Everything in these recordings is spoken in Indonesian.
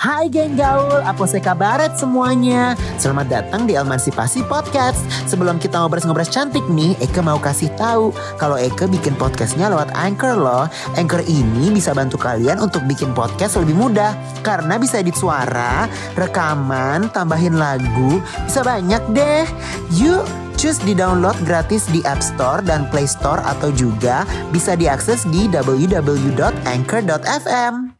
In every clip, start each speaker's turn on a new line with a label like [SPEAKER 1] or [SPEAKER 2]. [SPEAKER 1] Hai geng gaul, apa kabaret semuanya? Selamat datang di Emansipasi Podcast. Sebelum kita ngobrol-ngobrol cantik nih, Eke mau kasih tahu kalau Eke bikin podcastnya lewat Anchor loh. Anchor ini bisa bantu kalian untuk bikin podcast lebih mudah karena bisa edit suara, rekaman, tambahin lagu, bisa banyak deh. Yuk, Cus di-download gratis di App Store dan Play Store atau juga bisa diakses di www.anchor.fm.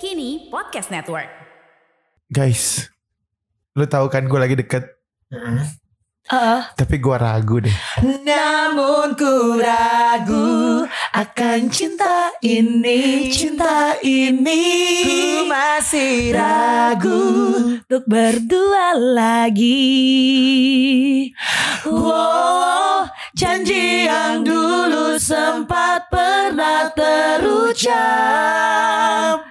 [SPEAKER 2] Kini Podcast Network.
[SPEAKER 3] Guys, lu tahu kan gue lagi deket, tapi gue ragu deh.
[SPEAKER 4] Namun ku ragu akan cinta ini, cinta ini. Ku masih ragu untuk berdua lagi. Wow, janji yang dulu sempat pernah terucap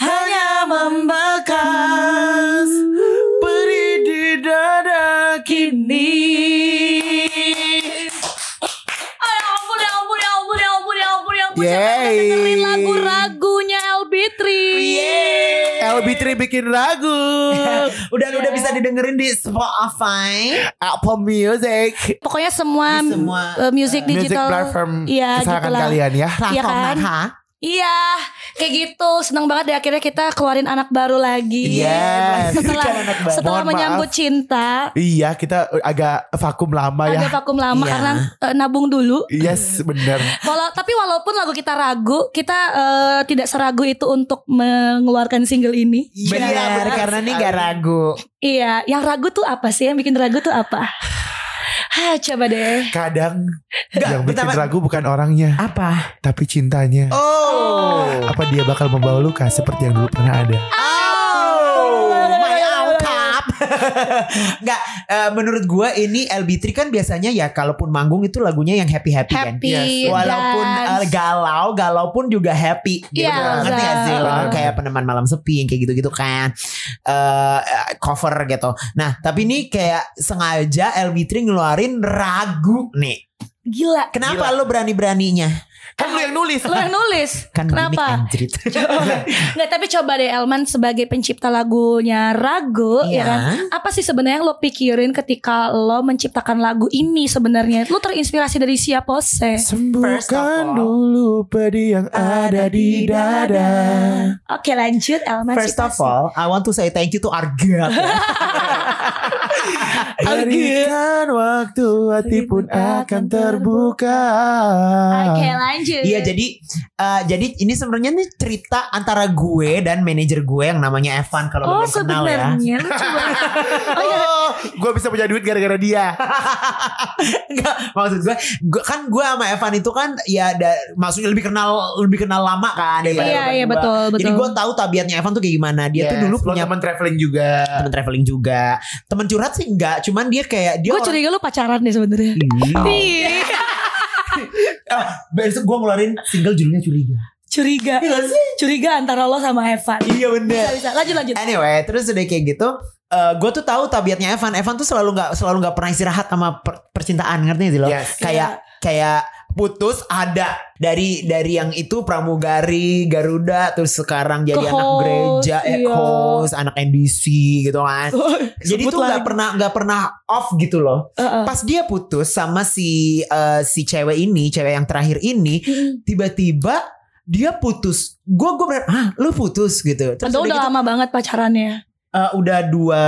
[SPEAKER 4] hanya membekas. Beri di dada kini.
[SPEAKER 2] Ya ampun, ya ampun, ya ampun, ya ampun, ya ampun, ya ampun. Siapa yang
[SPEAKER 3] Yeay.
[SPEAKER 2] dengerin lagu ragunya Elbitri?
[SPEAKER 4] Oh,
[SPEAKER 3] LB3 bikin lagu.
[SPEAKER 1] Udah udah bisa didengerin di Spotify.
[SPEAKER 3] Apple Music.
[SPEAKER 2] Pokoknya semua,
[SPEAKER 1] Di semua,
[SPEAKER 2] eh, music
[SPEAKER 3] Music
[SPEAKER 2] digital.
[SPEAKER 3] platform
[SPEAKER 2] Iya,
[SPEAKER 3] kesayangan
[SPEAKER 2] gitu lah.
[SPEAKER 3] kalian ya.
[SPEAKER 2] Iya kan?
[SPEAKER 1] Platform ha.
[SPEAKER 2] Iya, kayak gitu. Senang banget deh akhirnya kita keluarin anak baru lagi.
[SPEAKER 3] Yes.
[SPEAKER 2] Iya, Setelah
[SPEAKER 3] Kan anak baru.
[SPEAKER 2] setelah
[SPEAKER 3] Mohon
[SPEAKER 2] menyambut
[SPEAKER 3] maaf.
[SPEAKER 2] cinta,
[SPEAKER 3] Iya, kita agak vakum lama ya.
[SPEAKER 2] agak vakum lama
[SPEAKER 1] Iya.
[SPEAKER 2] karena eh, nabung dulu.
[SPEAKER 3] Yes, bener.
[SPEAKER 2] Walau, tapi walaupun lagu kita ragu, kita eh, tidak seragu itu untuk mengeluarkan single ini.
[SPEAKER 4] Iya,
[SPEAKER 3] Iya,
[SPEAKER 1] Benar, karena ini gak ragu.
[SPEAKER 2] Iya, yang ragu tuh apa sih? Yang bikin ragu tuh apa? Hah, coba
[SPEAKER 3] Iya.
[SPEAKER 2] deh.
[SPEAKER 3] Kadang
[SPEAKER 4] Nggak,
[SPEAKER 3] yang bikin
[SPEAKER 4] pertama-
[SPEAKER 3] ragu bukan orangnya,
[SPEAKER 4] Apa?
[SPEAKER 3] tapi cintanya.
[SPEAKER 4] Oh.
[SPEAKER 3] Apa dia bakal membawa luka seperti yang dulu pernah ada?
[SPEAKER 4] Oh,
[SPEAKER 1] my
[SPEAKER 4] my
[SPEAKER 1] outcap.
[SPEAKER 4] outcap. Enggak, eh, menurut gue ini LB3 kan biasanya ya kalaupun manggung itu lagunya yang happy-happy kan.
[SPEAKER 2] Happy
[SPEAKER 3] Yes, e,
[SPEAKER 4] Walaupun eh,
[SPEAKER 2] dance.
[SPEAKER 4] galau, galau pun juga happy. Gitu.
[SPEAKER 2] Iya,
[SPEAKER 4] Ngerti gak sih?
[SPEAKER 2] betul.
[SPEAKER 4] Lagu kayak peneman malam sepi yang kayak gitu-gitu kan. Eh, eh, cover gitu. Nah, tapi ini kayak sengaja LB3 ngeluarin ragu nih.
[SPEAKER 2] gila.
[SPEAKER 4] Kenapa lo berani-beraninya?
[SPEAKER 3] Kan lu yang nulis.
[SPEAKER 2] Lu yang nulis.
[SPEAKER 4] Kan gimmick
[SPEAKER 2] Kenapa?
[SPEAKER 4] anjrit.
[SPEAKER 2] Nggak, tapi coba deh Elman sebagai pencipta lagunya Ragu
[SPEAKER 4] Iya.
[SPEAKER 2] ya kan. Apa sih sebenarnya yang lo pikirin ketika lo menciptakan lagu ini sebenarnya? Lo terinspirasi dari siapa sih?
[SPEAKER 4] First of all-
[SPEAKER 3] Sembuhkan dulu pedih yang ada di dada.
[SPEAKER 2] Oke, lanjut Elman.
[SPEAKER 4] First of
[SPEAKER 2] Sipasi.
[SPEAKER 4] all, I want to say thank you to
[SPEAKER 2] Iya.
[SPEAKER 4] Arga.
[SPEAKER 3] Berikan waktu hati pun akan terbuka.
[SPEAKER 2] Oke, lanjut.
[SPEAKER 4] Iya jadi eh, jadi ini sebenarnya nih cerita antara gue dan manajer gue yang namanya Evan kalau lo
[SPEAKER 2] Oh,
[SPEAKER 4] belum kenal ya.
[SPEAKER 2] sebenarnya lu coba. Oh, iya.
[SPEAKER 3] Oh, gue bisa punya duit gara-gara dia.
[SPEAKER 4] Enggak, maksud gue, gue- kan gue sama Evan itu kan ya da- maksudnya lebih kenal lebih kenal lama kan daripada
[SPEAKER 2] Iya,
[SPEAKER 4] lo
[SPEAKER 2] iya
[SPEAKER 4] berdua.
[SPEAKER 2] betul, betul.
[SPEAKER 4] Jadi gue tahu tabiatnya Evan tuh kayak gimana. Dia tuh
[SPEAKER 3] Yes,
[SPEAKER 4] dulu
[SPEAKER 3] lo
[SPEAKER 4] punya
[SPEAKER 3] teman traveling juga.
[SPEAKER 4] temen traveling juga. Temen curhat sih enggak, cuman dia kayak dia
[SPEAKER 2] Gue
[SPEAKER 4] orang- Iya.
[SPEAKER 2] curiga lu pacaran deh sebenarnya.
[SPEAKER 4] Ih,
[SPEAKER 2] Ih,
[SPEAKER 4] ah, Besok gue ngeluarin single judulnya curiga.
[SPEAKER 2] curiga. Curiga antara lo sama Evan.
[SPEAKER 4] Iya bener.
[SPEAKER 2] Bisa, bisa. Lanjut, lanjut.
[SPEAKER 4] Anyway, terus udah kayak gitu, gue tuh tahu tabiatnya Evan. Evan tuh selalu nggak selalu nggak pernah istirahat sama per- percintaan, ngerti nggak sih lo?
[SPEAKER 3] Yes.
[SPEAKER 4] Kayak
[SPEAKER 2] Iya.
[SPEAKER 4] kayak putus ada dari dari yang itu pramugari Garuda terus sekarang jadi
[SPEAKER 2] Ke
[SPEAKER 4] anak
[SPEAKER 2] host,
[SPEAKER 4] gereja eh,
[SPEAKER 2] iya.
[SPEAKER 4] host anak NBC gitu kan
[SPEAKER 2] Uh,
[SPEAKER 4] jadi
[SPEAKER 2] Sebut
[SPEAKER 4] tuh nggak
[SPEAKER 2] lagi. Ah.
[SPEAKER 4] pernah nggak pernah off gitu loh
[SPEAKER 2] Heeh.
[SPEAKER 4] pas dia putus sama si eh, si cewek ini cewek yang terakhir ini tiba-tiba dia putus gue gue ah lu putus gitu terus
[SPEAKER 2] Padahal udah
[SPEAKER 4] gitu,
[SPEAKER 2] lama banget pacarannya.
[SPEAKER 4] Eh, udah dua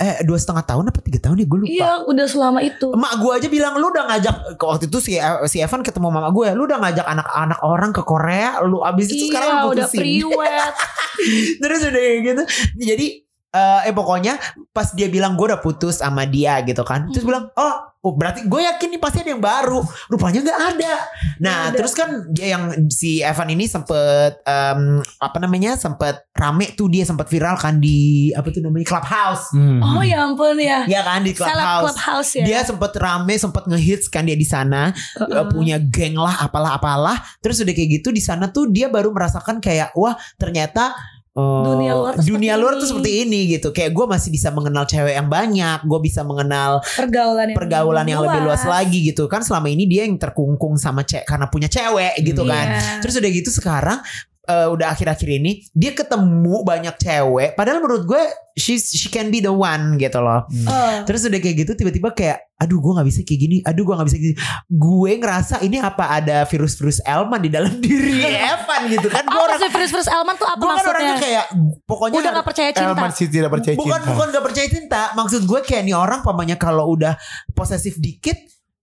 [SPEAKER 4] eh dua setengah tahun apa tiga tahun ya gue lupa.
[SPEAKER 2] Iya, udah selama itu.
[SPEAKER 4] Emak gue aja bilang lu udah ngajak ke waktu itu si E, si Evan ketemu mama gue, lu udah ngajak anak-anak orang ke Korea, lu abis itu sekarang
[SPEAKER 2] iya,
[SPEAKER 4] lu
[SPEAKER 2] udah
[SPEAKER 4] putusin.
[SPEAKER 2] priwet.
[SPEAKER 4] Terus udah kayak gitu. Jadi eh, eh pokoknya pas dia bilang gue udah putus sama dia gitu kan. Terus
[SPEAKER 2] Hmm.
[SPEAKER 4] bilang, "Oh, oh, berarti gue yakin nih pasti ada yang baru." Rupanya nggak ada. Nah,
[SPEAKER 2] Nggak ada.
[SPEAKER 4] terus kan dia yang si Evan ini sempet em, apa namanya? sempet rame tuh dia sempet viral kan di apa tuh namanya? Clubhouse.
[SPEAKER 3] Hmm.
[SPEAKER 2] Oh ya ampun ya.
[SPEAKER 4] Iya kan di
[SPEAKER 2] Salah
[SPEAKER 4] clubhouse.
[SPEAKER 2] clubhouse ya.
[SPEAKER 4] Dia sempet rame, sempet ngehits kan dia di sana,
[SPEAKER 2] Heeh.
[SPEAKER 4] Eh, punya geng lah, apalah apalah. Terus udah kayak gitu di sana tuh dia baru merasakan kayak wah ternyata eh,
[SPEAKER 2] Dunia luar tuh
[SPEAKER 4] dunia
[SPEAKER 2] seperti
[SPEAKER 4] luar
[SPEAKER 2] ini.
[SPEAKER 4] tuh seperti ini gitu kayak gue masih bisa mengenal cewek yang banyak gue bisa mengenal
[SPEAKER 2] pergaulan yang
[SPEAKER 4] pergaulan yang lebih luas lagi gitu kan selama ini dia yang terkungkung sama cewek karena punya cewek gitu
[SPEAKER 2] Iya.
[SPEAKER 4] kan terus udah gitu sekarang eh, udah akhir-akhir ini dia ketemu banyak cewek padahal menurut gue she she can be the one gitu loh
[SPEAKER 2] Oh.
[SPEAKER 4] Terus udah kayak gitu tiba-tiba kayak aduh gue nggak bisa kayak gini, aduh gue nggak bisa kayak gini. Gue ngerasa ini apa ada virus-virus Elman di dalam diri Evan gitu kan. Gue
[SPEAKER 2] Apa
[SPEAKER 4] orang
[SPEAKER 2] sih virus-virus Elman tuh apa
[SPEAKER 4] gue kan
[SPEAKER 2] maksudnya?
[SPEAKER 4] orangnya kayak pokoknya
[SPEAKER 2] Udah gak percaya cinta.
[SPEAKER 3] Elman sih tidak percaya
[SPEAKER 4] bukan
[SPEAKER 3] cinta.
[SPEAKER 4] bukan gak percaya cinta. Maksud gue kayak nih orang pamanya kalau udah posesif dikit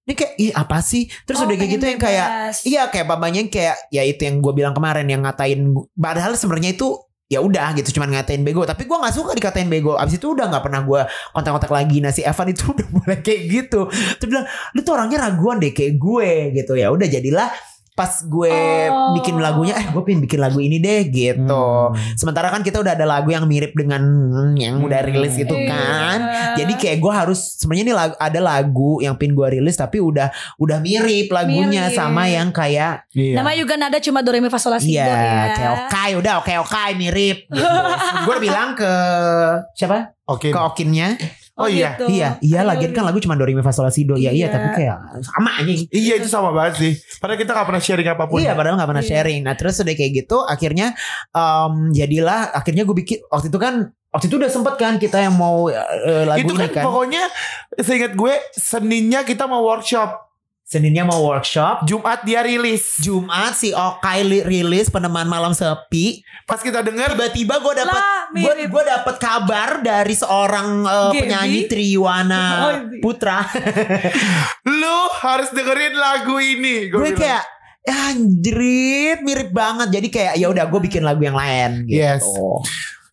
[SPEAKER 4] ini kayak ih apa sih? Terus
[SPEAKER 2] Oh,
[SPEAKER 4] udah kayak
[SPEAKER 2] pengen
[SPEAKER 4] gitu yang kayak
[SPEAKER 2] bebas.
[SPEAKER 4] Iya kayak papanya yang kayak ya itu yang gue bilang kemarin yang ngatain padahal sebenarnya itu ya udah gitu cuman ngatain bego tapi gue nggak suka dikatain bego abis itu udah nggak pernah gue kontak-kontak lagi nah si Evan itu udah mulai kayak gitu terus bilang lu tuh orangnya raguan deh kayak gue gitu ya udah jadilah pas gue
[SPEAKER 2] Oh.
[SPEAKER 4] bikin lagunya eh gue pengen bikin lagu ini deh gitu
[SPEAKER 3] Hmm.
[SPEAKER 4] sementara kan kita udah ada lagu yang mirip dengan yang udah
[SPEAKER 3] Hmm.
[SPEAKER 4] rilis itu
[SPEAKER 2] Iya.
[SPEAKER 4] kan jadi kayak gue harus sebenarnya ini lagu, ada lagu yang pin gue rilis tapi udah udah mirip lagunya
[SPEAKER 2] Mirip.
[SPEAKER 4] sama yang kayak
[SPEAKER 3] Iya.
[SPEAKER 2] Namanya juga nada cuma do re mi fa sol la si
[SPEAKER 4] iya
[SPEAKER 2] do ya.
[SPEAKER 4] kayak okai udah oke okai mirip. Gitu. gue bilang ke siapa?
[SPEAKER 3] Oke.
[SPEAKER 4] Ke Okinnya.
[SPEAKER 3] Oh iya,
[SPEAKER 2] gitu.
[SPEAKER 4] Iya, iya
[SPEAKER 2] Ayo,
[SPEAKER 4] lagian kan lagu cuma do re mi fa sol la si do. Ya iya
[SPEAKER 2] Iya.
[SPEAKER 4] tapi kayak sama aja. gitu.
[SPEAKER 3] Iya itu sama banget sih. Padahal kita gak pernah sharing apapun.
[SPEAKER 4] Iya padahal gak pernah
[SPEAKER 2] Iya.
[SPEAKER 4] sharing Nah terus udah kayak gitu Akhirnya em, Jadilah Akhirnya gue bikin Waktu itu kan Waktu itu udah sempet kan Kita yang mau eh, Lagu
[SPEAKER 3] itu
[SPEAKER 4] ini
[SPEAKER 3] kan,
[SPEAKER 4] kan
[SPEAKER 3] pokoknya seingat gue seninya kita mau workshop
[SPEAKER 4] Seninnya mau workshop
[SPEAKER 3] Jumat dia rilis
[SPEAKER 4] Jumat si Okai li- rilis peneman malam sepi.
[SPEAKER 3] pas kita denger
[SPEAKER 4] Tiba-tiba gue dapat
[SPEAKER 2] Lah,
[SPEAKER 4] gue
[SPEAKER 2] mirip.
[SPEAKER 4] gue dapat kabar dari seorang eh,
[SPEAKER 2] Gaby?
[SPEAKER 4] penyanyi Triwana
[SPEAKER 2] Oh, iya.
[SPEAKER 4] Putra.
[SPEAKER 3] lu harus dengerin lagu ini
[SPEAKER 4] gue
[SPEAKER 3] bilang.
[SPEAKER 4] kayak "Ya, anjrit mirip banget. Jadi kayak ya udah gue bikin lagu yang lain gitu.
[SPEAKER 3] Yes.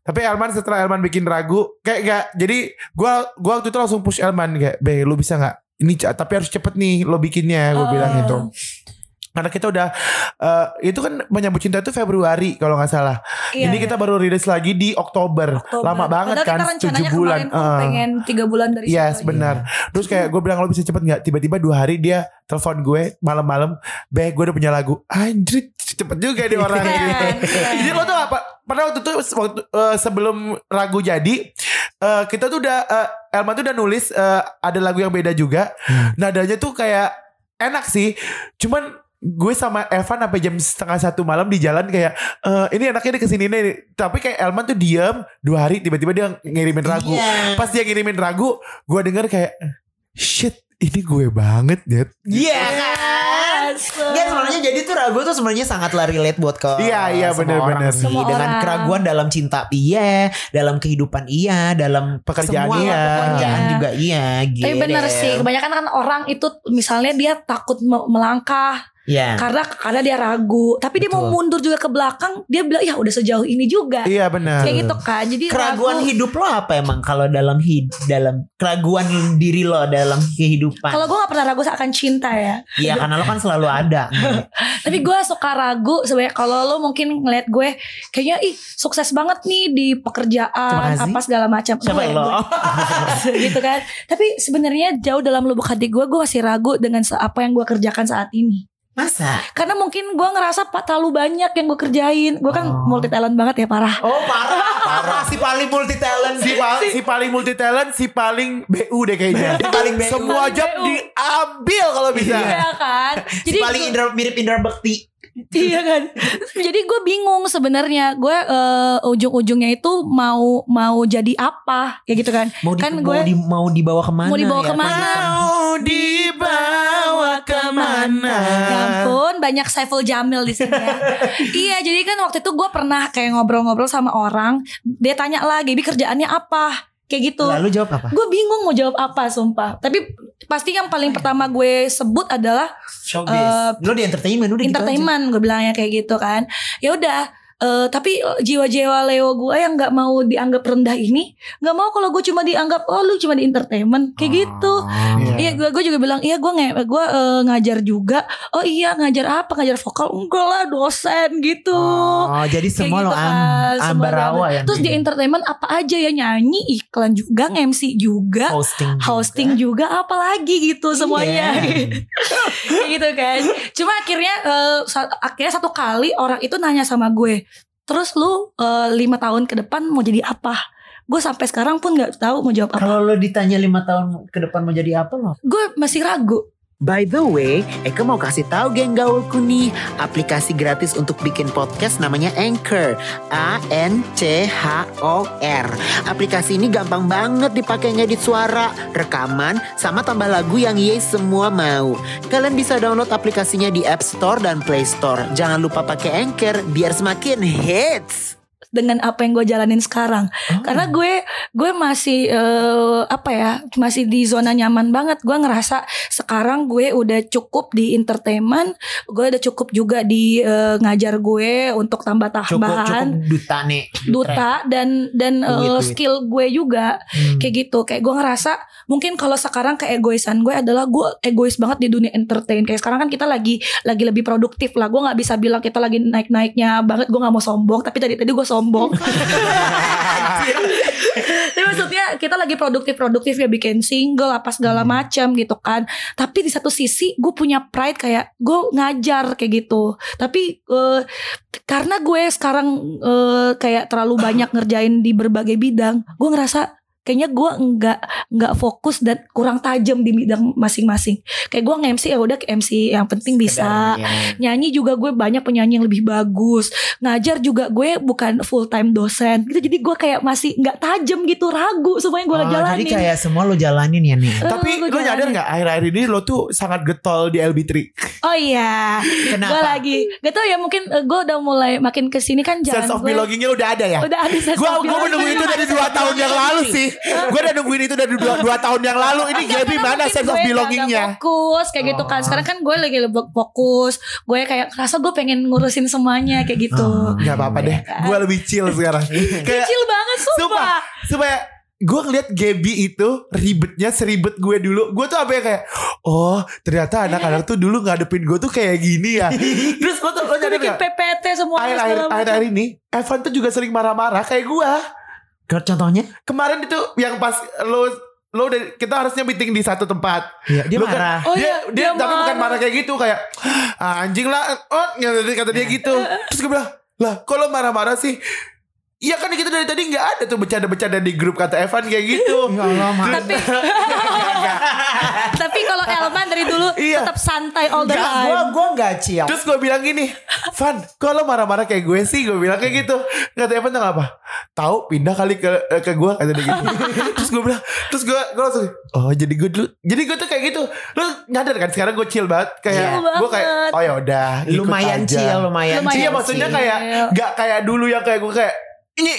[SPEAKER 3] tapi Elman setelah Elman bikin ragu kayak gak jadi gue gua waktu itu langsung push Elman kayak be lu bisa nggak ini ca- tapi harus cepet nih lo bikinnya gue
[SPEAKER 2] Oh.
[SPEAKER 3] bilang itu karena kita udah eh, itu kan menyambut cinta itu Februari kalau nggak salah
[SPEAKER 2] Iya,
[SPEAKER 3] ini
[SPEAKER 2] iya.
[SPEAKER 3] kita baru rilis lagi di Oktober,
[SPEAKER 2] Oktober.
[SPEAKER 3] lama banget
[SPEAKER 2] Padahal
[SPEAKER 3] kan
[SPEAKER 2] kita rencananya
[SPEAKER 3] 7 bulan
[SPEAKER 2] kemarin tuh
[SPEAKER 3] Eh.
[SPEAKER 2] pengen 3 bulan dari
[SPEAKER 3] Iya
[SPEAKER 2] situ.
[SPEAKER 3] benar. Terus kayak gue bilang lo bisa cepet nggak? Tiba-tiba dua hari dia telepon gue malam-malam, beh gue udah punya lagu. Anjir cepet juga nih orang.
[SPEAKER 2] Keren, keren.
[SPEAKER 3] Jadi lo tuh apa? Pada waktu itu waktu, eh, sebelum lagu jadi, eh, kita tuh udah eh, Elma tuh udah nulis eh, ada lagu yang beda juga. Nadanya tuh kayak enak sih. Cuman gue sama Evan sampai jam setengah satu malam di jalan kayak eh, ini enaknya dia kesini nih tapi kayak Elman tuh diem dua hari tiba-tiba dia ngirimin lagu
[SPEAKER 4] Iya.
[SPEAKER 3] pas dia ngirimin ragu gue denger kayak shit ini gue banget Nyet
[SPEAKER 4] Iya kan?
[SPEAKER 2] Yes.
[SPEAKER 4] Ya sebenarnya jadi tuh ragu tuh sebenarnya sangatlah relate buat ke
[SPEAKER 3] Iya, iya,
[SPEAKER 4] semua
[SPEAKER 3] bener-bener.
[SPEAKER 4] orang sih.
[SPEAKER 2] Semua
[SPEAKER 4] dengan
[SPEAKER 2] orang.
[SPEAKER 4] keraguan dalam cinta iya, dalam kehidupan iya, dalam
[SPEAKER 3] Pekerjaan
[SPEAKER 4] semua
[SPEAKER 3] iya.
[SPEAKER 4] pekerjaan juga iya gitu.
[SPEAKER 2] Tapi bener sih, kebanyakan kan orang itu misalnya dia takut me- melangkah
[SPEAKER 4] Iya.
[SPEAKER 2] karena karena dia ragu, tapi dia mau
[SPEAKER 4] Betul.
[SPEAKER 2] mundur juga ke belakang, dia bilang ya udah sejauh ini juga.
[SPEAKER 3] iya benar
[SPEAKER 2] Kayak gitu kan. Jadi
[SPEAKER 4] Keraguan
[SPEAKER 2] ragu.
[SPEAKER 4] hidup lo apa emang kalau dalam hid dalam keraguan diri lo dalam kehidupan?
[SPEAKER 2] Kalau gue gak pernah ragu akan cinta ya.
[SPEAKER 4] Iya karena lo kan selalu ada.
[SPEAKER 2] Tapi
[SPEAKER 4] Hmm.
[SPEAKER 2] gue suka ragu sebenarnya kalau lo mungkin ngeliat gue kayaknya ih sukses banget nih di pekerjaan
[SPEAKER 4] Terima kasih.
[SPEAKER 2] apa segala macam.
[SPEAKER 4] Siapa
[SPEAKER 2] Gue-
[SPEAKER 4] yang lo?
[SPEAKER 2] gue- gitu kan. Tapi sebenarnya jauh dalam lubuk hati gue, gue masih ragu dengan se- apa yang gue kerjakan saat ini.
[SPEAKER 4] Masa?
[SPEAKER 2] Karena mungkin gue ngerasa pak terlalu banyak yang gue kerjain. Gue kan
[SPEAKER 4] Oh.
[SPEAKER 2] multi talent banget ya parah.
[SPEAKER 4] Oh parah, parah si paling multi talent
[SPEAKER 3] si, pa- si paling multi talent si paling BU deh kayaknya
[SPEAKER 4] Si paling BU.
[SPEAKER 3] semua
[SPEAKER 2] Paling
[SPEAKER 3] job
[SPEAKER 2] BU.
[SPEAKER 3] diambil kalau bisa
[SPEAKER 2] Iya kan.
[SPEAKER 4] si paling
[SPEAKER 2] gue-
[SPEAKER 4] Indra, mirip Indra Bekti.
[SPEAKER 2] iya kan. Jadi gue bingung sebenarnya. Gue eh, ujung-ujungnya itu mau mau jadi apa ya gitu kan.
[SPEAKER 4] Mau di,
[SPEAKER 2] kan
[SPEAKER 4] mau, di, mau dibawa kemana?
[SPEAKER 2] Mau dibawa
[SPEAKER 4] ya?
[SPEAKER 2] kemana?
[SPEAKER 3] mau dibawa kemana
[SPEAKER 2] Ya ampun, banyak Saiful Jamil di sini ya. iya, jadi kan waktu itu gue pernah kayak ngobrol-ngobrol sama orang, dia tanya lah, Gaby kerjaannya apa? Kayak gitu.
[SPEAKER 4] Lalu jawab apa?
[SPEAKER 2] Gue bingung mau jawab apa, sumpah. Tapi pasti yang paling pertama gue sebut adalah
[SPEAKER 4] Showbiz.
[SPEAKER 2] Eh,
[SPEAKER 4] lo di entertainment udah gitu
[SPEAKER 2] entertainment gue bilangnya kayak gitu kan ya udah eh, tapi jiwa-jiwa Leo gue yang nggak mau dianggap rendah ini nggak mau kalau gue cuma dianggap oh lu cuma di
[SPEAKER 4] Ah.
[SPEAKER 2] entertainment kayak gitu Iya, gue gue juga bilang iya gue nge- gue eh, ngajar juga. Oh iya ngajar apa? Ngajar vokal enggak lah dosen gitu.
[SPEAKER 4] Oh, jadi
[SPEAKER 2] Kayak
[SPEAKER 4] semua lo
[SPEAKER 2] gitu
[SPEAKER 4] am,
[SPEAKER 2] kan, semua
[SPEAKER 4] ambarawa
[SPEAKER 2] lo-
[SPEAKER 4] ya.
[SPEAKER 2] Terus di entertainment apa aja ya nyanyi, iklan juga, MC juga,
[SPEAKER 4] hosting. juga.
[SPEAKER 2] hosting juga, apalagi gitu semuanya.
[SPEAKER 4] Hmm, ya. Iya.
[SPEAKER 2] Kayak gitu kan. Cuma akhirnya eh, sa- akhirnya satu kali orang itu nanya sama gue, terus lu eh, lima tahun ke depan mau jadi apa gue sampai sekarang pun nggak tahu mau jawab apa
[SPEAKER 4] Kalau lo ditanya lima tahun ke depan mau jadi apa lo?
[SPEAKER 2] gue masih ragu
[SPEAKER 1] By the way, Eka mau kasih tahu geng gaulku nih, aplikasi gratis untuk bikin podcast namanya Anchor. A N C H O R. Aplikasi ini gampang banget dipakai ngedit suara, rekaman, sama tambah lagu yang ye semua mau. Kalian bisa download aplikasinya di App Store dan Play Store. Jangan lupa pakai Anchor biar semakin hits.
[SPEAKER 2] dengan apa yang gue jalanin sekarang
[SPEAKER 4] Oh.
[SPEAKER 2] karena gue gue masih eh, apa ya masih di zona nyaman banget gue ngerasa sekarang gue udah cukup di entertainment gue udah cukup juga di eh, ngajar gue untuk tambah
[SPEAKER 4] cukup cukup
[SPEAKER 2] tambahan
[SPEAKER 4] duta nih.
[SPEAKER 2] duta dan dan eh,
[SPEAKER 4] Duit, duit.
[SPEAKER 2] skill gue juga
[SPEAKER 4] Hmm.
[SPEAKER 2] kayak gitu kayak gue ngerasa mungkin kalau sekarang keegoisan gue adalah gue egois banget di dunia entertain kayak sekarang kan kita lagi lagi lebih produktif lah gue nggak bisa bilang kita lagi naik naiknya banget gue nggak mau sombong tapi tadi tadi gue sombong tapi maksudnya kita lagi produktif produktif ya bikin single apa segala macam gitu kan tapi di satu sisi gue punya pride kayak gue ngajar kayak gitu tapi eh, karena gue sekarang eh, kayak terlalu banyak ngerjain di berbagai bidang gue ngerasa kayaknya gue nggak nggak fokus dan kurang tajam di bidang masing-masing kayak gue nge-MC ya udah ke MC yang penting bisa
[SPEAKER 4] Iya.
[SPEAKER 2] nyanyi juga gue banyak penyanyi yang lebih bagus ngajar juga gue bukan full time dosen gitu jadi gue kayak masih nggak tajam gitu ragu semua yang gue
[SPEAKER 4] Oh,
[SPEAKER 2] jalanin
[SPEAKER 4] jadi kayak semua lo jalanin ya nih.
[SPEAKER 2] Eh,
[SPEAKER 3] Tapi
[SPEAKER 2] gue
[SPEAKER 3] lo nyadar
[SPEAKER 2] jalanin.
[SPEAKER 3] gak akhir-akhir ini lo tuh sangat getol di LB3
[SPEAKER 2] oh iya gue
[SPEAKER 4] Kenapa?
[SPEAKER 2] lagi gak tau ya mungkin gue udah mulai makin kesini kan jalan
[SPEAKER 3] Sense of
[SPEAKER 2] gue
[SPEAKER 3] belongingnya udah ada ya
[SPEAKER 2] udah ada sense
[SPEAKER 3] Gue
[SPEAKER 2] of
[SPEAKER 3] gue
[SPEAKER 2] belonging.
[SPEAKER 3] menunggu itu dari 2 tahun yang lalu sih Gue udah nungguin itu dari 2, tahun yang lalu Ini
[SPEAKER 2] Enggak,
[SPEAKER 3] Gaby
[SPEAKER 2] karena
[SPEAKER 3] mana
[SPEAKER 2] mungkin
[SPEAKER 3] sense of
[SPEAKER 2] gue nggak-
[SPEAKER 3] belongingnya
[SPEAKER 2] nggak fokus kayak gitu kan sekarang kan gue lagi lebih fokus gue kayak rasa gue pengen ngurusin semuanya kayak gitu
[SPEAKER 3] Gak apa-apa deh Gue lebih chill sekarang Kayak
[SPEAKER 2] kecil banget Iya. sumpah,
[SPEAKER 3] Iya. Sumpah. supaya gue ngeliat Gaby itu ribetnya seribet gue dulu gue tuh apa ya kayak oh ternyata
[SPEAKER 2] Iya.
[SPEAKER 3] anak-anak tuh dulu ngadepin gue tuh kayak gini ya terus lo tuh lo
[SPEAKER 2] Gue
[SPEAKER 3] nyadar
[SPEAKER 2] bikin
[SPEAKER 3] gak
[SPEAKER 2] PPT semua
[SPEAKER 3] akhir-akhir
[SPEAKER 2] segala macam.
[SPEAKER 3] akhir-akhir ini Evan tuh juga sering marah-marah kayak gue
[SPEAKER 4] Ke- Contohnya?
[SPEAKER 3] kemarin itu yang pas lo lo udah kita harusnya meeting di satu tempat
[SPEAKER 4] Iya, dia
[SPEAKER 3] Lo kan-
[SPEAKER 4] marah.
[SPEAKER 2] Oh
[SPEAKER 3] dia,
[SPEAKER 2] iya,
[SPEAKER 3] dia,
[SPEAKER 2] dia
[SPEAKER 3] tapi bukan
[SPEAKER 2] marah.
[SPEAKER 3] marah kayak gitu kayak "Ah, anjing lah oh nggak- kata dia gitu terus gue bilang lah kok lo marah-marah sih Iya kan kita dari tadi nggak ada tuh bercanda-bercanda di grup kata Evan kayak gitu.
[SPEAKER 2] Iya.
[SPEAKER 4] Enggak lo marah.
[SPEAKER 2] tapi tapi kalau Elman dari dulu
[SPEAKER 3] Iya.
[SPEAKER 2] tetap santai all the
[SPEAKER 4] Enggak, gue
[SPEAKER 2] time
[SPEAKER 4] gue enggak chill.
[SPEAKER 3] Terus gue bilang gini, Van, kok lo marah-marah kayak gue sih? Gue bilang
[SPEAKER 4] Iya.
[SPEAKER 3] kayak gitu. Kata Evan tuh apa? Tahu pindah kali ke ke gue kata dia gitu. terus gue bilang, terus gue gue langsung, oh jadi gue dulu, jadi gue tuh kayak gitu. Lo nyadar kan sekarang gue chill banget, kayak
[SPEAKER 2] Iya. Chill banget.
[SPEAKER 3] gue kayak, oh ya udah, ikut
[SPEAKER 4] Lumayan
[SPEAKER 3] aja."
[SPEAKER 4] chill, lumayan.
[SPEAKER 2] Lumayan
[SPEAKER 4] chill
[SPEAKER 3] Iya
[SPEAKER 2] sih.
[SPEAKER 3] maksudnya
[SPEAKER 4] sih.
[SPEAKER 3] kayak nggak kayak dulu yang kayak gue kayak ini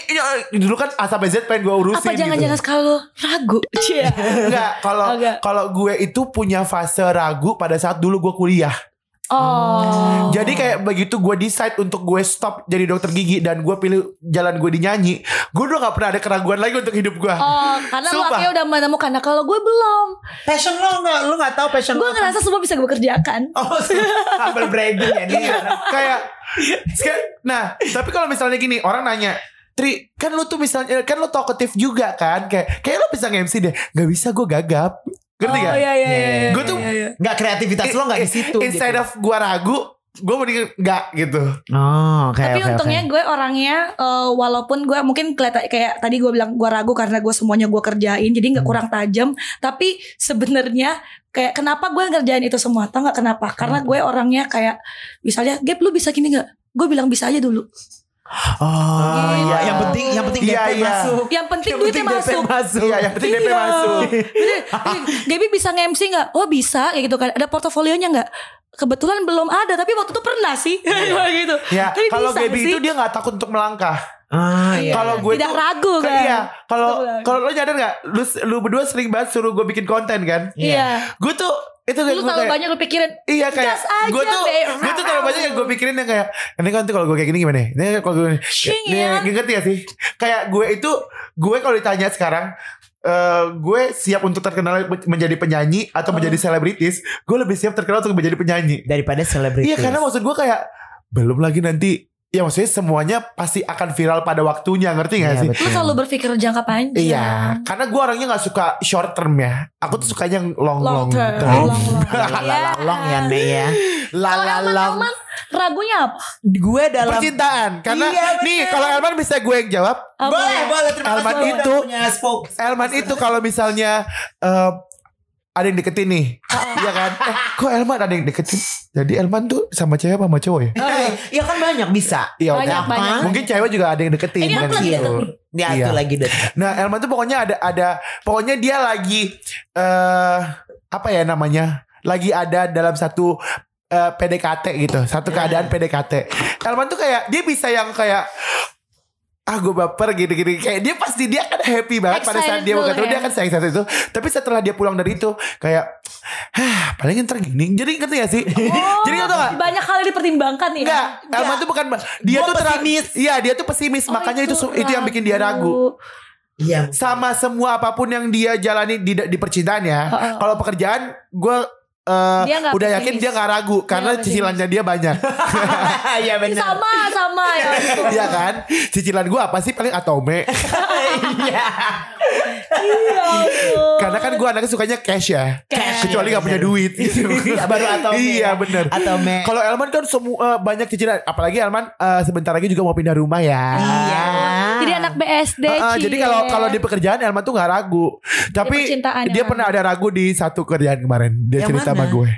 [SPEAKER 3] ini dulu kan A sampai Z pengen gue urusin. gitu.
[SPEAKER 2] apa
[SPEAKER 3] Iya.
[SPEAKER 2] jangan-jangan sekarang lo ragu Cie.
[SPEAKER 3] Enggak, kalau
[SPEAKER 2] Enggak.
[SPEAKER 3] kalau gue itu punya fase ragu pada saat dulu gue kuliah.
[SPEAKER 2] oh
[SPEAKER 3] Jadi kayak begitu gue decide untuk gue stop jadi dokter gigi dan gue pilih jalan gue di nyanyi, gue udah gak pernah ada keraguan lagi untuk hidup gue.
[SPEAKER 2] Oh, karena lo
[SPEAKER 3] Sumpah.
[SPEAKER 2] akhirnya udah menemukan. Nah, kalau gue belum,
[SPEAKER 4] Passion lo enggak, lo enggak tahu passion
[SPEAKER 2] gue
[SPEAKER 4] lo.
[SPEAKER 2] ngerasa semua bisa gue kerjakan.
[SPEAKER 4] Oh, humble bragging ya nih.
[SPEAKER 3] kayak sek- nah tapi kalau misalnya gini orang nanya Tri kan lu tuh misalnya kan lu talkative juga kan kayak kayak lu bisa nge-MC deh nggak bisa gue gagap ngerti
[SPEAKER 2] oh,
[SPEAKER 3] gak?
[SPEAKER 2] iya, iya, iya, iya,
[SPEAKER 3] Gue tuh
[SPEAKER 2] iya, iya.
[SPEAKER 4] Enggak kreativitas lo enggak di situ.
[SPEAKER 3] Instead
[SPEAKER 4] gitu.
[SPEAKER 3] of gue ragu Gue mending nggak gitu
[SPEAKER 4] Oh, oke
[SPEAKER 2] Tapi
[SPEAKER 4] oke, oke.
[SPEAKER 2] untungnya gue orangnya eh, walaupun gue mungkin kelihatan kayak tadi gue bilang gue ragu karena gue semuanya gue kerjain jadi
[SPEAKER 3] Hmm.
[SPEAKER 2] nggak kurang tajam tapi sebenarnya kayak kenapa gue ngerjain itu semua tau nggak kenapa
[SPEAKER 3] Hmm.
[SPEAKER 2] karena gue orangnya kayak misalnya Gap lu bisa gini nggak gue bilang bisa aja dulu
[SPEAKER 4] Oh
[SPEAKER 2] Gitu.
[SPEAKER 4] iya, yang penting yang penting
[SPEAKER 3] Iya,
[SPEAKER 4] DP
[SPEAKER 3] iya.
[SPEAKER 4] masuk.
[SPEAKER 2] yang penting
[SPEAKER 4] Yang
[SPEAKER 2] duitnya
[SPEAKER 4] penting DP
[SPEAKER 2] masuk
[SPEAKER 4] masuk.
[SPEAKER 3] Iya yang penting DP
[SPEAKER 2] Iya.
[SPEAKER 3] masuk
[SPEAKER 2] Jadi, Gaby bisa nge-MC gak? Oh bisa kayak gitu kan Ada portofolionya gak? Kebetulan belum ada Tapi waktu itu pernah sih gitu.
[SPEAKER 3] Ya
[SPEAKER 2] Tapi
[SPEAKER 3] kalau
[SPEAKER 2] bisa
[SPEAKER 3] Gaby
[SPEAKER 2] sih.
[SPEAKER 3] itu dia nggak takut untuk melangkah
[SPEAKER 4] Ah iya.
[SPEAKER 3] Kalau gue
[SPEAKER 2] Tidak
[SPEAKER 3] tuh-
[SPEAKER 2] ragu
[SPEAKER 3] Kan
[SPEAKER 2] kan
[SPEAKER 3] iya Kalau
[SPEAKER 2] Betul.
[SPEAKER 3] kalau lo nyadar gak lu, lu berdua sering banget suruh gue bikin konten kan
[SPEAKER 4] Iya.
[SPEAKER 2] Iya
[SPEAKER 3] Gue tuh Itu kayak Iya. gue
[SPEAKER 2] Lu terlalu
[SPEAKER 3] kayak
[SPEAKER 2] banyak lu pikirin
[SPEAKER 3] Iya kayak
[SPEAKER 2] Gas aja,
[SPEAKER 3] Gue tuh
[SPEAKER 2] Be.
[SPEAKER 3] Gue tuh terlalu banyak yang gue pikirin yang kayak Ini kan nanti kalau gue kayak gini gimana ya? Ini kalau gue
[SPEAKER 2] Shing,
[SPEAKER 3] Ini
[SPEAKER 2] ya.
[SPEAKER 3] gak ngerti ya sih Kayak gue itu Gue kalau ditanya sekarang eh, gue siap untuk terkenal menjadi penyanyi atau menjadi
[SPEAKER 2] Hmm.
[SPEAKER 3] selebritis. Gue lebih siap terkenal untuk menjadi penyanyi.
[SPEAKER 4] Daripada selebriti.
[SPEAKER 3] Iya karena maksud gue kayak belum lagi nanti ya maksudnya semuanya pasti akan viral pada waktunya ngerti gak
[SPEAKER 4] Iya,
[SPEAKER 3] sih?
[SPEAKER 2] Lu
[SPEAKER 4] betul.
[SPEAKER 2] selalu berpikir jangka panjang
[SPEAKER 3] Iya, karena gue orangnya nggak suka short term ya. Aku tuh sukanya yang long long,
[SPEAKER 2] Long term
[SPEAKER 3] term.
[SPEAKER 2] Long long
[SPEAKER 4] Lalalong ya Nek ya
[SPEAKER 3] La
[SPEAKER 2] Iya. Kalau
[SPEAKER 3] la
[SPEAKER 2] Elman,
[SPEAKER 3] la.
[SPEAKER 2] Elman ragunya apa?
[SPEAKER 4] gue dalam
[SPEAKER 3] Percintaan karena
[SPEAKER 4] Iya,
[SPEAKER 3] nih
[SPEAKER 4] bener.
[SPEAKER 3] kalau Elman bisa gue yang jawab.
[SPEAKER 2] Apa?
[SPEAKER 4] boleh boleh terima
[SPEAKER 3] Elman
[SPEAKER 4] kasih
[SPEAKER 3] itu-
[SPEAKER 4] udah punya spoke
[SPEAKER 3] Elman itu kalau misalnya eh, ada yang deketin nih. Iya kan? Eh, kok Elman ada yang deketin? Jadi Elman tuh sama cewek apa sama cowok ya?
[SPEAKER 4] ya kan banyak bisa
[SPEAKER 3] Iya, oke.
[SPEAKER 2] Banyak banyak.
[SPEAKER 3] Mungkin cewek juga ada yang deketin
[SPEAKER 2] Ini
[SPEAKER 3] kan
[SPEAKER 2] aku lagi
[SPEAKER 3] gitu.
[SPEAKER 2] deket
[SPEAKER 4] ya
[SPEAKER 3] Iya.
[SPEAKER 4] itu lagi deh
[SPEAKER 3] Nah, Elman tuh pokoknya ada ada pokoknya dia lagi eh apa ya namanya? Lagi ada dalam satu eh, PDKT gitu, satu keadaan PDKT. Elman tuh kayak dia bisa yang kayak ah gue baper gini-gini kayak dia pasti dia kan happy banget pada saat
[SPEAKER 2] Excited
[SPEAKER 3] dia
[SPEAKER 2] dulu
[SPEAKER 3] waktu itu
[SPEAKER 2] ya.
[SPEAKER 3] dia kan sayang satu itu tapi setelah dia pulang dari itu kayak Hah, paling ntar gini jadi ngerti gak sih jadi nggak tau gak
[SPEAKER 2] Banyak hal yang dipertimbangkan ya.
[SPEAKER 3] Enggak, Elman tuh bukan dia
[SPEAKER 4] Gua
[SPEAKER 3] tuh ter-
[SPEAKER 4] pesimis.
[SPEAKER 3] Iya, dia tuh pesimis.
[SPEAKER 2] Oh,
[SPEAKER 3] Makanya itu itu, yang bikin dia ragu.
[SPEAKER 4] iya
[SPEAKER 3] Sama semua apapun yang dia jalani di di percintaannya,
[SPEAKER 2] Heeh.
[SPEAKER 3] kalau pekerjaan gue eh,
[SPEAKER 2] Dia nggak
[SPEAKER 3] udah
[SPEAKER 2] pesimis.
[SPEAKER 3] yakin dia nggak ragu karena
[SPEAKER 2] nggak
[SPEAKER 3] cicilannya dia banyak.
[SPEAKER 4] iya
[SPEAKER 2] Ini
[SPEAKER 4] benar
[SPEAKER 2] sama sama ya. gitu.
[SPEAKER 3] Iya kan? Cicilan gue apa sih paling atome?
[SPEAKER 4] iya
[SPEAKER 3] Iya.
[SPEAKER 2] Ya ampun.
[SPEAKER 3] karena kan gue anaknya sukanya cash ya.
[SPEAKER 4] Oh. Cash.
[SPEAKER 3] Kecuali nggak punya duit.
[SPEAKER 4] Iya, baru atome.
[SPEAKER 3] Iya, benar.
[SPEAKER 4] atau me
[SPEAKER 3] Kalau Elman kan semua eh, banyak cicilan, apalagi Elman eh, sebentar lagi juga mau pindah rumah ya.
[SPEAKER 4] iya
[SPEAKER 2] Jadi anak BSD.
[SPEAKER 3] Heeh, jadi
[SPEAKER 2] Cie.
[SPEAKER 3] kalau kalau di pekerjaan Elman tuh nggak ragu. Tapi
[SPEAKER 2] percintaan
[SPEAKER 3] dia
[SPEAKER 2] ya.
[SPEAKER 3] pernah ada ragu di satu kerjaan kemarin. Dia
[SPEAKER 4] Yang
[SPEAKER 3] cerita sama
[SPEAKER 4] mana?
[SPEAKER 3] gue.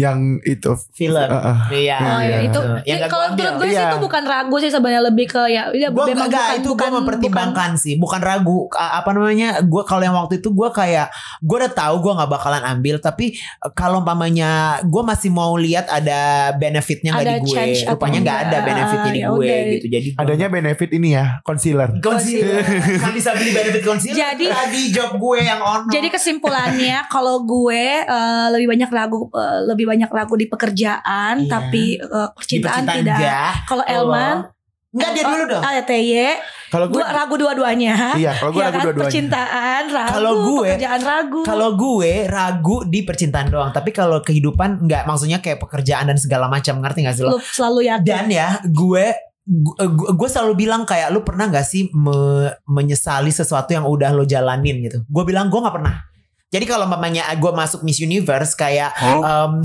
[SPEAKER 3] Yang itu.
[SPEAKER 4] film
[SPEAKER 3] Heeh.
[SPEAKER 4] iya
[SPEAKER 2] Oh
[SPEAKER 3] Iya.
[SPEAKER 2] ya itu
[SPEAKER 4] Yang
[SPEAKER 2] ya,
[SPEAKER 4] nggak
[SPEAKER 2] kalau
[SPEAKER 4] gua
[SPEAKER 2] menurut
[SPEAKER 4] ambil.
[SPEAKER 2] gue sih
[SPEAKER 3] Iya.
[SPEAKER 2] itu bukan ragu sih sebenarnya lebih ke ya udah
[SPEAKER 4] gue
[SPEAKER 2] memang
[SPEAKER 4] enggak itu gue mempertimbangkan sih bukan ragu Ka- apa namanya gue kalau yang waktu itu gue kayak gue udah tahu gue nggak bakalan ambil tapi eh, kalau umpamanya gue masih mau lihat ada benefitnya nggak
[SPEAKER 2] Ada
[SPEAKER 4] di gue
[SPEAKER 2] change apa
[SPEAKER 4] rupanya nggak ada
[SPEAKER 2] enggak.
[SPEAKER 4] benefitnya di
[SPEAKER 2] Ya
[SPEAKER 4] gue
[SPEAKER 2] udah.
[SPEAKER 4] gitu jadi gua-
[SPEAKER 3] Adanya benefit ini ya, concealer.
[SPEAKER 4] concealer kan bisa beli benefit concealer
[SPEAKER 2] Jadi-
[SPEAKER 4] tadi job gue yang ono
[SPEAKER 2] Jadi kesimpulannya kalau gue eh, lebih banyak ragu eh, lebih banyak ragu di pekerjaan
[SPEAKER 4] Iya.
[SPEAKER 2] tapi eh,
[SPEAKER 4] Di
[SPEAKER 2] percintaan
[SPEAKER 4] percintaan
[SPEAKER 2] tidak.
[SPEAKER 4] enggak
[SPEAKER 2] Kalau
[SPEAKER 4] Kalau-
[SPEAKER 2] Elman
[SPEAKER 4] enggak dia dulu dong
[SPEAKER 2] Ah ya TY
[SPEAKER 3] Kalau gue
[SPEAKER 2] Gue ragu dua-duanya
[SPEAKER 3] Iya, kalau gue
[SPEAKER 2] Ya
[SPEAKER 3] ragu
[SPEAKER 2] kan?
[SPEAKER 3] dua-duanya.
[SPEAKER 2] Percintaan ragu
[SPEAKER 4] Kalau gue-
[SPEAKER 2] Pekerjaan ragu
[SPEAKER 4] Kalau gue ragu di percintaan doang, tapi kalau kehidupan nggak maksudnya kayak pekerjaan dan segala macam ngerti nggak sih lo?
[SPEAKER 2] Lu selalu yakin
[SPEAKER 4] Dan ya gue gu- gu- gue selalu bilang kayak lu pernah gak sih me- menyesali sesuatu yang udah lo jalanin gitu. Gue bilang gue nggak pernah. Jadi kalau mamanya gue masuk Miss Universe kayak em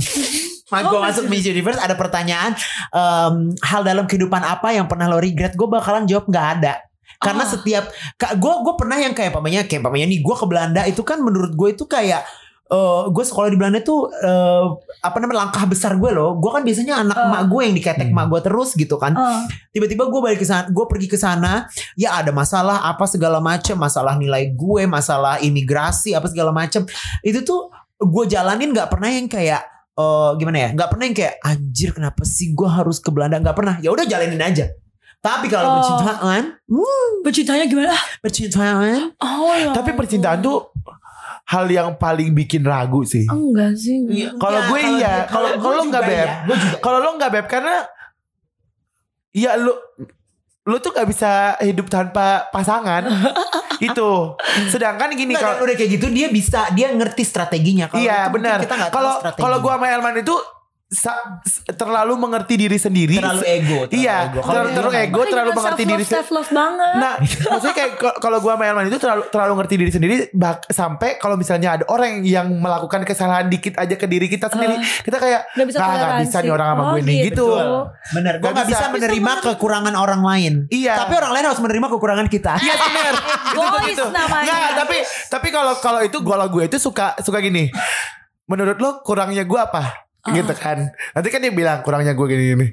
[SPEAKER 4] gue masuk Miss Universe ada pertanyaan em, hal dalam kehidupan apa yang pernah lo regret? Gue bakalan jawab nggak ada. Karena
[SPEAKER 2] Ah.
[SPEAKER 4] setiap gue gue pernah yang kayak pamanya kayak pamanya nih gue ke Belanda itu kan menurut gue itu kayak eh gue sekolah di Belanda tuh eh, apa namanya langkah besar gue loh. Gue kan biasanya anak
[SPEAKER 2] Ah.
[SPEAKER 4] emak gue yang diketek emak gue terus gitu kan.
[SPEAKER 2] Eh,
[SPEAKER 4] Tiba-tiba gue balik ke sana, gue pergi ke sana, ya ada masalah apa segala macem, masalah nilai gue, masalah imigrasi apa segala macem. Itu tuh gue jalanin nggak pernah yang kayak eh gimana ya? Nggak pernah yang kayak anjir kenapa sih gue harus ke Belanda? Nggak pernah. Ya udah jalanin aja. Tapi kalau
[SPEAKER 2] Oh.
[SPEAKER 4] percintaan, hmm,
[SPEAKER 2] Percintanya gimana Ah,
[SPEAKER 4] percintaan
[SPEAKER 2] Oh ya
[SPEAKER 3] Tapi percintaan tuh hal yang paling bikin ragu sih.
[SPEAKER 2] Enggak sih enggak.
[SPEAKER 3] Kalau gue iya. Kalau kalau iya. lo nggak beb,
[SPEAKER 4] gue juga.
[SPEAKER 3] kalau lo nggak beb karena ya lu lu tuh nggak bisa hidup tanpa pasangan itu. Sedangkan
[SPEAKER 4] Nggak,
[SPEAKER 3] gini kalau
[SPEAKER 4] dan udah kayak gitu dia bisa dia ngerti strateginya Kalau itu
[SPEAKER 3] Iya
[SPEAKER 4] mungkin
[SPEAKER 3] benar.
[SPEAKER 4] kita nggak tahu
[SPEAKER 3] Kalau
[SPEAKER 4] strateginya.
[SPEAKER 3] kalau gua sama Elman itu sa- s- terlalu mengerti diri sendiri.
[SPEAKER 4] terlalu ego terlalu ego.
[SPEAKER 3] Iya,
[SPEAKER 4] Kalau
[SPEAKER 3] terlalu-
[SPEAKER 4] dia
[SPEAKER 3] terlalu
[SPEAKER 4] nggak
[SPEAKER 3] ego. Gue terlalu mengerti diri
[SPEAKER 2] self love banget
[SPEAKER 3] Nah, maksudnya kayak ko- kalau gua sama Elman itu terlalu terlalu ngerti diri sendiri bak- sampai kalau misalnya ada orang yang melakukan kesalahan dikit aja ke diri kita sendiri, kita kayak
[SPEAKER 2] Nggak bisa
[SPEAKER 3] "Ah, nggak
[SPEAKER 2] toleransi."
[SPEAKER 3] bisa nih orang sama
[SPEAKER 2] Oh,
[SPEAKER 3] gue nih
[SPEAKER 2] gitu.
[SPEAKER 3] gitu.
[SPEAKER 2] Betul.
[SPEAKER 4] Bener, gue
[SPEAKER 3] Gak
[SPEAKER 4] gak bisa,
[SPEAKER 3] bisa.
[SPEAKER 4] menerima kekurangan orang lain.
[SPEAKER 3] Iya.
[SPEAKER 4] Tapi orang lain harus menerima kekurangan kita.
[SPEAKER 3] Iya benar.
[SPEAKER 2] Gois namanya.
[SPEAKER 3] gitu. Nggak, tapi tapi kalau kalau itu kalau gue itu suka suka gini. Menurut lo kurangnya gue apa?
[SPEAKER 4] Oh.
[SPEAKER 3] Gitu kan. Nanti kan dia bilang kurangnya gue gini gini.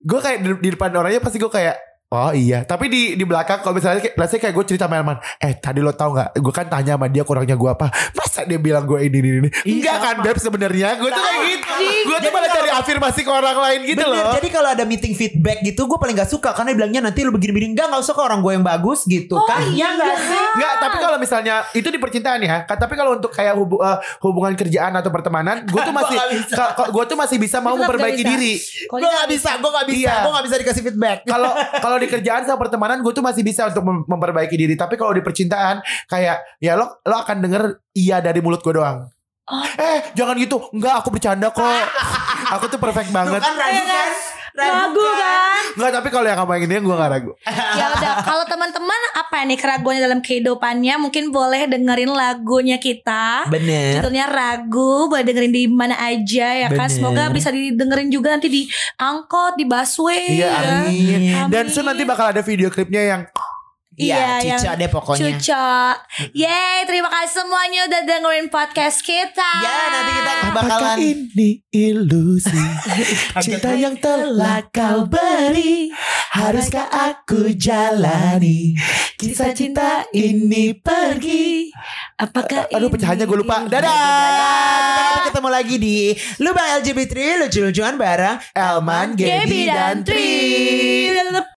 [SPEAKER 3] Gue kayak di, di depan orangnya pasti gue kayak Oh iya, tapi di di belakang kalau misalnya kayak, let's say kayak gue cerita sama Elman, eh tadi lo tau nggak? Gue kan tanya sama dia kurangnya gue apa? Masa dia bilang gue ini ini ini?
[SPEAKER 4] Iya,
[SPEAKER 3] Enggak kan, beb sebenarnya gue tuh kayak gitu. Gue tuh
[SPEAKER 4] Jadi
[SPEAKER 3] malah
[SPEAKER 4] kalau-
[SPEAKER 3] cari afirmasi ke orang lain gitu
[SPEAKER 4] Bener,
[SPEAKER 3] loh.
[SPEAKER 4] jadi kalau ada meeting feedback gitu gue paling gak suka karena dia bilangnya nanti lu begini-begini enggak gak usah ke orang gue yang bagus gitu kan. Iya gak sih?
[SPEAKER 3] Enggak, tapi kalau misalnya itu di percintaan ya. Ka- Tapi kalau untuk kayak hubu- eh, hubungan kerjaan atau pertemanan, gue tuh masih
[SPEAKER 4] Gua nggak bisa.
[SPEAKER 3] ka- ka- gue tuh masih bisa mau
[SPEAKER 2] Tetap nggak
[SPEAKER 3] memperbaiki
[SPEAKER 2] bisa.
[SPEAKER 3] diri.
[SPEAKER 2] Kalau
[SPEAKER 4] Gue
[SPEAKER 2] kita
[SPEAKER 4] gak bisa, gue gak bisa,
[SPEAKER 3] Iya.
[SPEAKER 4] gue gak bisa dikasih feedback.
[SPEAKER 3] Kalau kalau di kerjaan sama pertemanan gue tuh masih bisa untuk mem- memperbaiki diri. Tapi kalau di percintaan kayak ya lo lo akan denger iya dari mulut gue doang.
[SPEAKER 4] Oh.
[SPEAKER 3] Eh jangan gitu Enggak aku bercanda kok Aku tuh perfect
[SPEAKER 4] Tuh
[SPEAKER 3] banget
[SPEAKER 4] kan ragu kan?
[SPEAKER 2] Ragu kan?
[SPEAKER 3] Enggak tapi kalau yang kamu yang ini gue gak ragu.
[SPEAKER 4] Iya.
[SPEAKER 2] ya udah kalau teman-teman apa nih keraguannya dalam kehidupannya mungkin boleh dengerin lagunya kita
[SPEAKER 4] Bener.
[SPEAKER 2] judulnya ragu boleh dengerin di mana aja ya kan
[SPEAKER 4] Bener.
[SPEAKER 2] semoga bisa didengerin juga nanti di angkot di busway
[SPEAKER 3] Iya,
[SPEAKER 2] ya.
[SPEAKER 3] amin.
[SPEAKER 2] Amin.
[SPEAKER 3] Dan soon nanti bakal ada video klipnya yang Gitu.
[SPEAKER 4] Iya,
[SPEAKER 2] Iya,
[SPEAKER 4] Cica
[SPEAKER 2] yang
[SPEAKER 4] deh pokoknya.
[SPEAKER 2] Cucok Yeay Terima kasih semuanya Udah dengerin podcast kita
[SPEAKER 4] Ya, nanti kita
[SPEAKER 3] Apakah
[SPEAKER 4] bakalan
[SPEAKER 3] ini ilusi Cinta yang telah kau beri Haruskah aku jalani Cita-cita ini pergi
[SPEAKER 2] Apakah
[SPEAKER 3] Aduh pecahannya gue
[SPEAKER 4] Iya.
[SPEAKER 3] lupa
[SPEAKER 4] Kita
[SPEAKER 3] Dadah
[SPEAKER 4] akan ketemu lagi di Lubang LGBT Lucu-lucuan bareng Elman,
[SPEAKER 2] Gaby
[SPEAKER 4] Gaby, dan Tri.
[SPEAKER 2] dan Tri